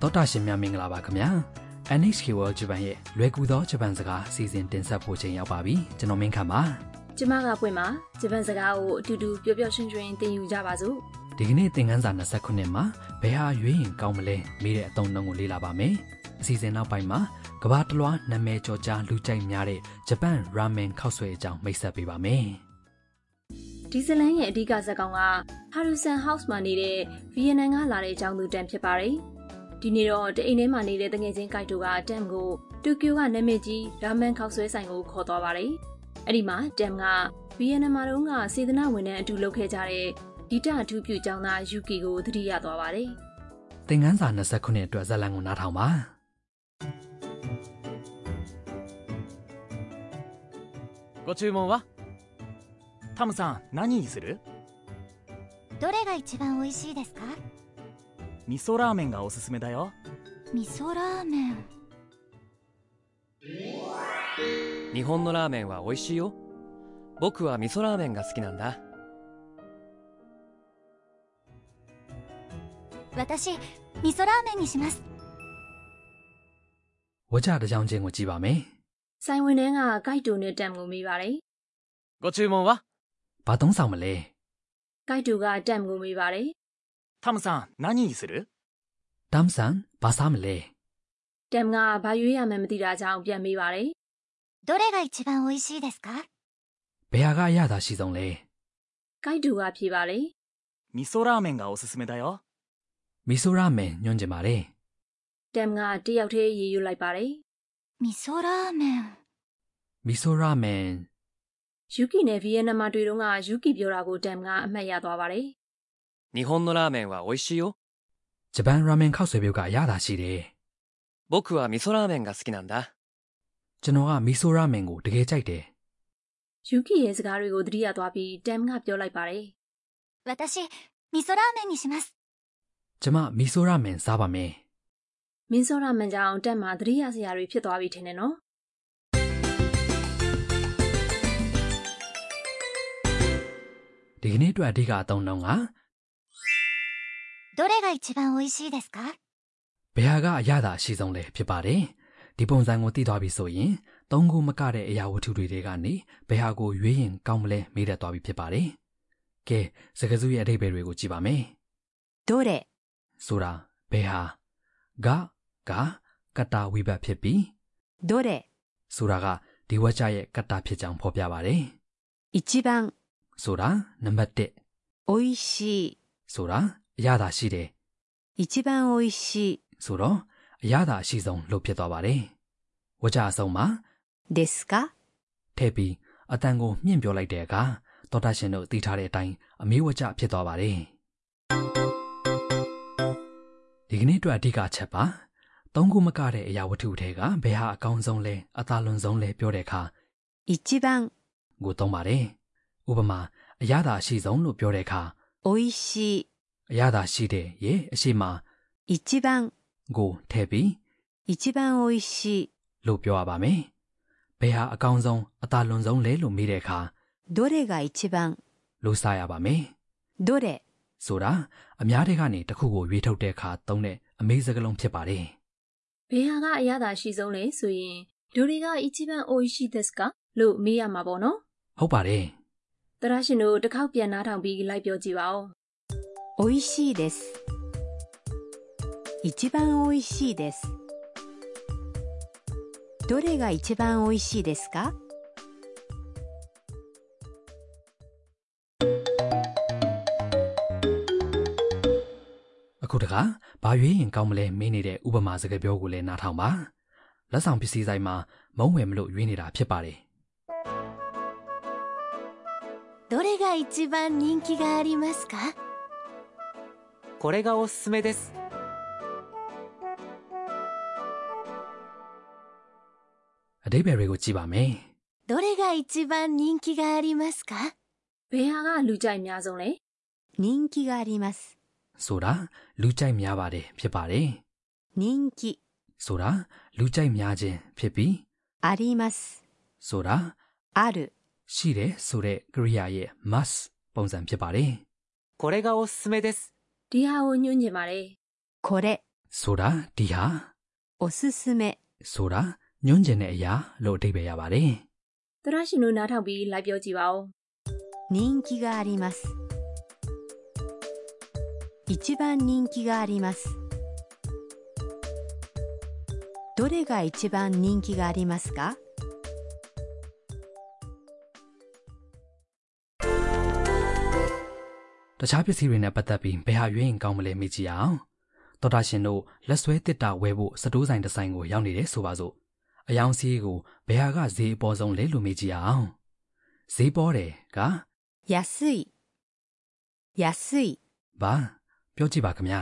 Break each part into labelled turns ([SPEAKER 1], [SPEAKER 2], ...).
[SPEAKER 1] တောတာရှင်များမင်္ဂလာပါခင်ဗျာ NHK World Japan ရဲ့လွယ်ကူသောဂျပန်စကားအစီအစဉ်တင်ဆက်ဖို့ချိန်ရောက်ပါပြီကျွန်တော်မင်းခမ်းပါ
[SPEAKER 2] ကျမကပွင့်ပါဂျပန်စကားကိုအတူတူပျော်ပျော်ရွှင်ရွှင်သင်ယူကြပါစို့
[SPEAKER 1] ဒီကနေ့သင်ခန်းစာ29မှာဘယ်ဟာရွေးရင်ကောင်းမလဲမိတဲ့အသုံးအနှုန်းကိုလေ့လာပါမယ်အစီအစဉ်နောက်ပိုင်းမှာကမ္ဘာတစ်လွှားနာမည်ကျော်ကြားလူကြိုက်များတဲ့ဂျပန်ရာမင်ခောက်ဆွဲအကြောင်းမိတ်ဆက်ပေးပါမယ်
[SPEAKER 2] ဒီဇလန်ရဲ့အဓိကဇာတ်ကောင်ကဟာရူဆန်ဟောက်စ်မှာနေတဲ့ဗီယက်နမ်ကလာတဲ့အကြောင်းသူတန်ဖြစ်ပါတယ်ဒီနေ့တော့တအိမ်ထဲမှာနေတဲ့တငယ်ချင်းကိုက်တိုကတမ်ကိုတိုကျိုကနာမည်ကြီးရာမန်ခောက်ဆွဲဆိုင်ကိုခေါ်သွားပါတယ်အဲ့ဒီမှာတမ်ကဗီယက်နမ်မှာတုန်းကစေတနာဝန်ထမ်းအတူလုပ်ခဲ့ကြတဲ့ဒီတာအထူးပြုကျောင်းသားယူကီကိုသတိရသွားပါတယ်
[SPEAKER 1] သင်ခန်းစာ29အတွက်ဇာတ်လမ်းကိုနားထောင်ပါ
[SPEAKER 3] ご注文はタムさん何にする
[SPEAKER 4] どれが一番美味しいですか
[SPEAKER 3] 味噌ラーメンがおすすめだよ
[SPEAKER 4] 味噌ラーメン
[SPEAKER 5] 日本のラーメンは美味しいよ僕は味噌ラーメンが好きなんだ
[SPEAKER 4] 私味噌ラーメンにします
[SPEAKER 1] ဝကြတစ်ကြောင်ချင်းကိုကြည့်ပါမယ်
[SPEAKER 2] ဆိုင်ဝန်ထမ်းကကိုက်တိုနဲ့တမ်ကိုမိပါတယ်
[SPEAKER 3] ご注文は
[SPEAKER 1] ဘာသုံးဆောင်မလဲ
[SPEAKER 2] ကိုက်တိုကတမ်ကိုမိပါတယ်
[SPEAKER 3] タムさん何にする
[SPEAKER 1] တမ်ဆန်ဘာစားမလဲ
[SPEAKER 2] တမ်ကဘာရွေးရမှန်းမသိတာကြောင့်ပြန်မေးပါတယ်
[SPEAKER 4] どれが一番美味しいですか
[SPEAKER 1] ဘယ်ဟာကအရသာရှိဆုံးလဲ
[SPEAKER 2] ။ကိုက်တူကဖြေပါတယ်
[SPEAKER 3] 味噌ラーメンがおすすめだよ
[SPEAKER 1] မီဆိုရာမင်ညွှန်းကျင်ပါတယ်
[SPEAKER 2] ။တမ်ကတယောက်တည်းရေရွတ်လိုက်ပါတယ်
[SPEAKER 4] 味噌ラーメン
[SPEAKER 1] မီဆိုရာမင်
[SPEAKER 2] ။ယူကီနဲ့ဗီယက်နမ်မှာတွေ့တုန်းကယူကီပြောတာကိုတမ်ကအမှတ်ရသွားပါတယ်
[SPEAKER 5] 日本のラーメンは美味しいよ
[SPEAKER 1] ဂျပန်ရာမင်ခောက်ဆွဲပြုတ်ကအရသာရှိတယ်
[SPEAKER 5] 僕は味噌ラーメンが好きなんだ
[SPEAKER 1] ကျွန်တော်ကမီဆိုရာမင်ကိုတကယ်ကြိုက်တယ်
[SPEAKER 2] ။ယူကီရဲ့စကားတွေကိုသတိရသွားပြီးတမ်ကပြောလိုက်ပါတယ်
[SPEAKER 4] 私味噌ラーメンにします
[SPEAKER 1] ကျမမီဆိုရာမင်စားပါမယ်
[SPEAKER 2] ။မင်းစောရမန်ကြောင့်တမ်မှာသတိရစရာတွေဖြစ်သွားပြီထင်တယ်နော်
[SPEAKER 1] ဒီကနေ့အတွက်အဓိကအသုံးအနှုန်းက
[SPEAKER 4] どれが一番美味しいですか
[SPEAKER 1] ဘယ်ဟာကအရသာရှိဆုံးလဲဖြစ်ပါတယ်ဒီပုံစံကိုသိသွားပြီဆိုရင်သုံးခုမကတဲ့အရာဝတ္ထုတွေထဲကနေဘယ်ဟာကိုရွေးရင်ကောင်းမလဲမေးတတ်သွားပြီဖြစ်ပါတယ်ကဲစကားစုရဲ့အဓိပ္ပာယ်တွေကိုကြည့်ပါမယ်
[SPEAKER 4] どれ
[SPEAKER 1] ဆိုတာဘယ်ဟာဂကကတ္တာဝိဘတ်ဖြစ်ပြီး
[SPEAKER 4] どれ
[SPEAKER 1] ဆိုတာကဒီဝကျရဲ့ကတ္တာဖြစ်ကြောင်းဖော်ပြပါတယ်
[SPEAKER 4] 一番
[SPEAKER 1] ဆိုတာနံပါတ်1
[SPEAKER 4] 美味しい
[SPEAKER 1] ဆိုတာအရသာရှိတယ်
[SPEAKER 4] 一番美味しい
[SPEAKER 1] ဆိုတော့အရသာအရှိဆုံးလို့ဖြစ်သွားပါတယ်ဝကျအဆုံးမှာ
[SPEAKER 4] ですか
[SPEAKER 1] ထည့်ပြီးအတန်ကိုမြင့်ပြောလိုက်တဲ့အခါသောတာရှင်တို့သိထားတဲ့အတိုင်းအမေးဝကျဖြစ်သွားပါတယ်ဒီကနေ့အတွက်အဓိကအချက်ပါသုံးခုမကတဲ့အရာဝတ္ထုထဲကဘယ်ဟာအကောင်းဆုံးလဲအသာလွန်ဆုံးလဲပြောတဲ့အခါ
[SPEAKER 4] 一番
[SPEAKER 1] ကိုသုံးပါတယ်။ဥပမာအရသာရှိဆုံးလို့ပြောတဲ့အခါ
[SPEAKER 4] 美味し
[SPEAKER 1] အရသာရှိတဲ့ရဲ့အရှိမ
[SPEAKER 4] い一番
[SPEAKER 1] ကိုထည့်ပြီး
[SPEAKER 4] 一番美味しい
[SPEAKER 1] လို့ပြောရပါမယ်။ဘယ်ဟာအကောင်းဆုံးအသာလွန်ဆုံးလဲလို့မေးတဲ့အခါ
[SPEAKER 4] どれが一番
[SPEAKER 1] လို့စရပါမယ်
[SPEAKER 4] どれ
[SPEAKER 1] ။ဆိုတာအများတွေကနေတစ်ခုကိုရွေးထုတ်တဲ့အခါသုံးတဲ့အမေးစကားလုံးဖြစ်ပါတယ်
[SPEAKER 2] ။ဘယ်ဟာကအရသာရှိဆုံးလဲဆိုရင်ဒိုရီကအီချီဘန်အိုရှိသစ်ကလို့မေးရမှာပေါ့နော်
[SPEAKER 1] ။ဟုတ်ပါတယ်
[SPEAKER 2] ။သရရှင်တို့တစ်ခေါက်ပြန်နားထောင်ပြီးလိုက်ပြောကြည့်ပါဦး
[SPEAKER 4] 美味しいです一番美味しいですどれが一番美味しいですか
[SPEAKER 1] ။အခုတခါဘာရွေးရင်ကောင်းမလဲမေးနေတဲ့ဥပမာစကားပြောကိုလည်းနားထောင်ပါ။လက်ဆောင်ပစ္စည်းဆိုင်မှာမုံဝယ်မလို့ရွေးနေတာဖြစ်ပါတယ်
[SPEAKER 4] どれが一番人気がありますか
[SPEAKER 5] これがおすすめです
[SPEAKER 1] ။အတိပ္ပယ်တွေကိုကြည့်ပါမယ်။
[SPEAKER 4] どれが一番人気がありますか
[SPEAKER 2] ။ဘယ်ဟာကလူကြိုက်များဆုံးလဲ
[SPEAKER 4] 人気があります
[SPEAKER 1] ဆိုတာလူကြိုက်များပါတယ်ဖြစ်ပါတယ်
[SPEAKER 4] 人気
[SPEAKER 1] ဆိုတာလူကြိုက်များခြင်းဖြစ်ပြီး
[SPEAKER 4] あります
[SPEAKER 1] ဆိုတာ
[SPEAKER 4] ある
[SPEAKER 1] ရှိတယ်ဆိုတဲ့ကရိယာရဲ့ must ပုံစံဖြစ်ပါတယ်
[SPEAKER 5] これがおすすめです
[SPEAKER 2] ။ဒီဟာကိုညွှန်းချင်ပါတယ်
[SPEAKER 4] これ
[SPEAKER 1] ဆိုတာဒီဟာ
[SPEAKER 4] おすすめ
[SPEAKER 1] ဆိုတာညွှန်းကျင်တဲ့အရာလို့အဓိပ္ပာယ်ရပါတယ်
[SPEAKER 2] ။သရရှင်တို့နားထောင်ပြီးလိုက်ပြောကြည့်ပါဦး
[SPEAKER 4] 人気があります一番人気がありますどれが一番人気がありますか
[SPEAKER 1] တခြားပစ္စည်းတွေနဲ့ပတ်သက်ပြီးဘယ်ဟာရွေးရင်ကောင်းမလဲမေးကြည့်အောင်တော်တာရှင်တို့လက်ဆွဲတစ်တာဝယ်ဖို့စတိုးဆိုင်တစ်ဆိုင်ကိုရောက်နေတယ်ဆိုပါစို့အယောင်စီးကိုဘယ်ဟာကဈေးအပေါ်ဆုံးလဲလို့မေးကြည့်အောင်ဈေးပေါ်တယ်က
[SPEAKER 4] 安い安い
[SPEAKER 1] ဘာပြောကြည့်ပါခင်ဗျာ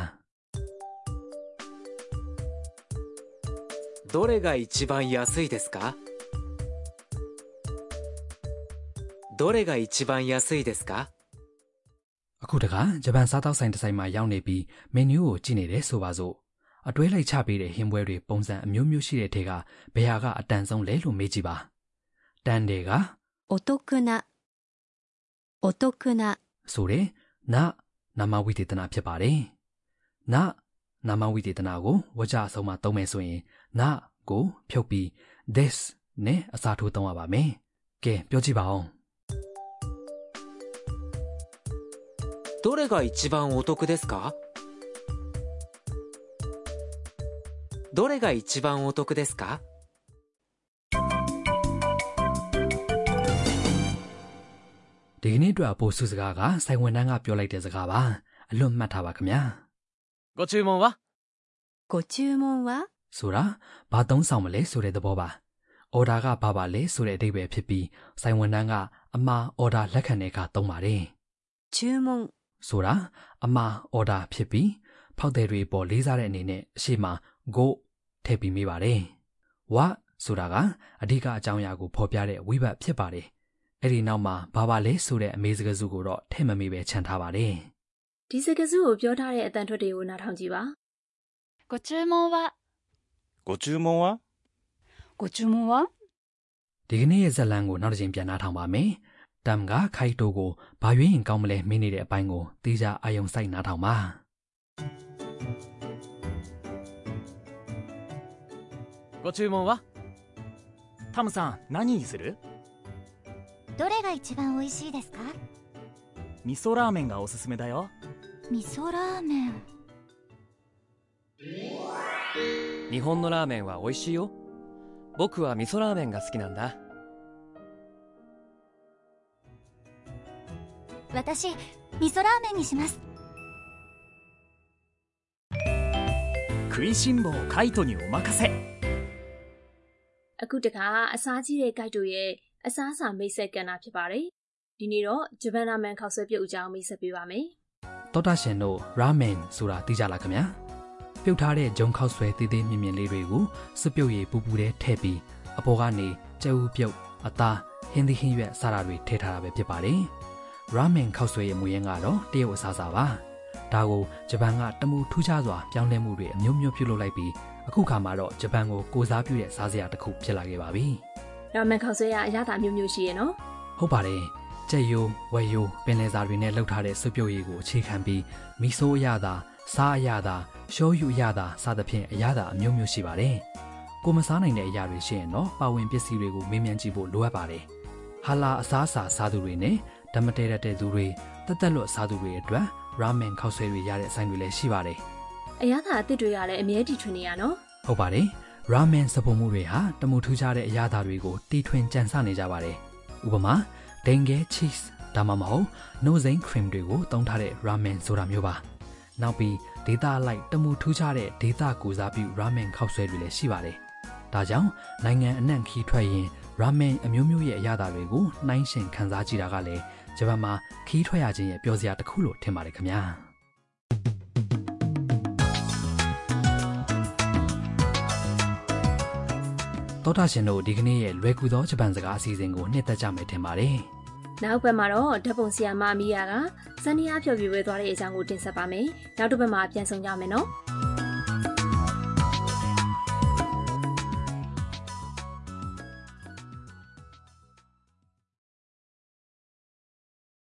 [SPEAKER 6] どれが一番安いですかどれが一番安いですか
[SPEAKER 1] အခုတခါဂျပန်စားတောက်ဆိုင်တစ်ဆိုင်မှာရောက်နေပြီးမနူးကိုကြည့်နေတယ်ဆိုပါစို့အတွဲလိုက်ချပေးတဲ့ဟင်းပွဲတွေပုံစံအမျိုးမျိုးရှိတဲ့ထဲကဘယ်ဟာကအတန်ဆုံးလဲလို့မေးကြည့်ပါတန်တယ်က
[SPEAKER 4] お得なお得な
[SPEAKER 1] ဆိုတဲ့နနာမဝိသေသနာဖြစ်ပါတယ်။နနာမဝိသေသနာကိုဝကြအဆုံးမှာသုံးမယ်ဆိုရင်နကိုဖြုတ်ပြီး this နဲ့အစားထိုးသုံးရပါမယ်။ကဲပြောကြည့်ပါဦး
[SPEAKER 6] どれが一番お得ですかどれが一番お得ですか
[SPEAKER 1] ။ဒီကနေ့အတွက်အပို့စုစကားကစိုင်ဝန်တန်းကပြောလိုက်တဲ့စကားပါ။အလွတ်မှတ်ထားပါခင်ဗျာ
[SPEAKER 3] ご注文は
[SPEAKER 4] ご注文は
[SPEAKER 1] ။ဆိုတာဘာသုံးဆောင်မလဲဆိုတဲ့သဘောပါ။ order ကဘာပါလဲဆိုတဲ့အဓိပ္ပာယ်ဖြစ်ပြီးစိုင်ဝန်တန်းကအမှား order လက်ခံတဲ့အခါသုံးပါတယ်။
[SPEAKER 4] 注文
[SPEAKER 1] ဆိုတာအမှား order ဖြစ်ပြီးဖောက်သည်တွေပေါ်လေးစားတဲ့အနေနဲ့အရှိမ go ထည့်ပြီးမိပါတယ်။ what ဆိုတာကအဓိကအကြောင်းအရာကိုဖော်ပြတဲ့ဝိဘတ်ဖြစ်ပါတယ်။အဲ့ဒီနောက်မှာဘာပါလဲဆိုတဲ့အမေစကားစုကိုတော့ထည့်မမိပဲခြံထားပါတယ်
[SPEAKER 2] ။ဒီစကားစုကိုပြောထားတဲ့အတန်ထွက်တွေကိုနားထောင်ကြည့်ပါ
[SPEAKER 7] ご注文は
[SPEAKER 8] ご注文は
[SPEAKER 7] ご注文は
[SPEAKER 1] ။ဒီကနေ့ရဲ့ဇာတ်လမ်းကိုနောက်တစ်ချိန်ပြန်နှားထောင်ပါမယ်။ Tam ကခိုက်တိုကိုဘာရွေးရင်ကောင်းမလဲမင်းနေတဲ့အပိုင်းကိုတေးချာအာယုံစိုက်နှားထောင်ပါ
[SPEAKER 3] ご注文はタムさん何にする
[SPEAKER 9] どれが一番美味しいですか
[SPEAKER 3] 味噌ラーメンがおすすめだよ
[SPEAKER 9] 味噌ラーメン
[SPEAKER 5] 日本のラーメンは美味しいよ僕は味噌ラーメンが好きなんだ
[SPEAKER 9] 私味噌ラーメンにします
[SPEAKER 3] 食いしん坊カイトにお任せ
[SPEAKER 2] ။အခုတခါအစားကြီးတဲ့ guide တို့ရဲ့အစားအစာမိတ်ဆက်ကဏ္ဍဖြစ်ပါတယ်။ဒီနေ့တော့ဂျပန်နာမန်ခောက်ဆွဲပြုတ်အကြောင်းမိတ်ဆက်ပေးပါမယ်
[SPEAKER 1] ။တောတာရှင်တို့ ramen ဆိုတာသိကြလားခင်ဗျာ။ပြုတ်ထားတဲ့ဂျုံခောက်ဆွဲသေးသေးမြင်မြင်လေးတွေကိုစပြုတ်ရည်ပူပူတဲ့ထည့်ပြီးအပေါ်ကနေကြက်ဥပြုတ်အသားဟင်းသီးဟင်းရွက်စတာတွေထည့်ထားတာပဲဖြစ်ပါတယ်။ ramen ခောက်ဆွဲရဲ့မူရင်းကတော့တရုတ်အစားအစာပါ။ဒါကိုဂျပန်ကတမူထူးခြားစွာပြောင်းလဲမှုတွေအမျိုးမျိုးပြုလုပ်လိုက်ပြီးအခုခါမှာတော့ဂျပန်ကိုကိုစားပြုတဲ့စားစရာတစ်ခုဖြစ်လာခဲ့ပါပြီ။
[SPEAKER 2] ။ရာမန်ခောက်ဆွဲကအရသာမျိုးမျိုးရှိရဲ့နော်
[SPEAKER 1] ဟုတ်ပါတယ်ကြက်ရိုးဝက်ရိုးပင်လယ်စာတွေနဲ့လှုပ်ထားတဲ့စွပ်ပြုတ်ရည်ကိုအခြေခံပြီးမီဆိုးအရသာစားအရသာရှောယူအရသာစသဖြင့်အရသာအမျိုးမျိုးရှိပါတယ်ကိုမစားနိုင်တဲ့အရာတွေရှိရင်တော့ပါဝင်ပစ္စည်းတွေကိုမေးမြန်းကြည့်ဖို့လိုအပ်ပါတယ်ဟာလာအစားအစာစားသူတွေနဲ့ဓမ္မတဲရတဲ့သူတွေတက်တက်လွတ်စားသူတွေအတွက်ရာမန်ခောက်ဆွဲတွေရတဲ့အဆိုင်တွေလည်းရှိပါတယ်
[SPEAKER 2] ။အရသာအသစ်တွေကလည်းအမြဲတည်ထွင်နေရနော်
[SPEAKER 1] ဟုတ်ပါတယ်။ရာမန်စပုံမှုတွေဟာတမူထူးခြားတဲ့အရာသားတွေကိုတီထွင်ကြံစနေကြပါတယ်။ဥပမာဒင်ဂဲ cheese ဒါမှမဟုတ်နိုစိန် cream တွေကိုသုံးထားတဲ့ရာမန်ဆိုတာမျိုးပါ။နောက်ပြီးဒေတာလိုက်တမူထူးခြားတဲ့ဒေတာကိုစားပြုရာမန်ခောက်ဆွဲတွေလည်းရှိပါတယ်။ဒါကြောင့်နိုင်ငံအနှံ့ခီးထွက်ရင်ရာမန်အမျိုးမျိုးရဲ့အရာသားတွေကိုနှိုင်းယှဉ်ခန်းစားကြည့်တာကလည်းဂျပန်မှာခီးထွက်ရခြင်းရဲ့ပျော်စရာတစ်ခုလို့ထင်ပါတယ်ခင်ဗျာ။ ။သောတာရှင်တို့ဒီကနေ့ရဲ့လွယ်ကူသောဂျပန်စကားအစီအစဉ်ကိုနှစ်သက်ကြမယ်ထင်ပါတယ်
[SPEAKER 2] ။နောက်ပတ်မှာတော့ဓာတ်ပုံဆီယာမမီယာကဇန်နီယာဖျော်ဖြေဝဲသွားတဲ့အကြောင်းကိုတင်ဆက်ပါမယ်။နောက်တစ်ပတ်မှာပြန်ဆောင်ကြမယ်နော်။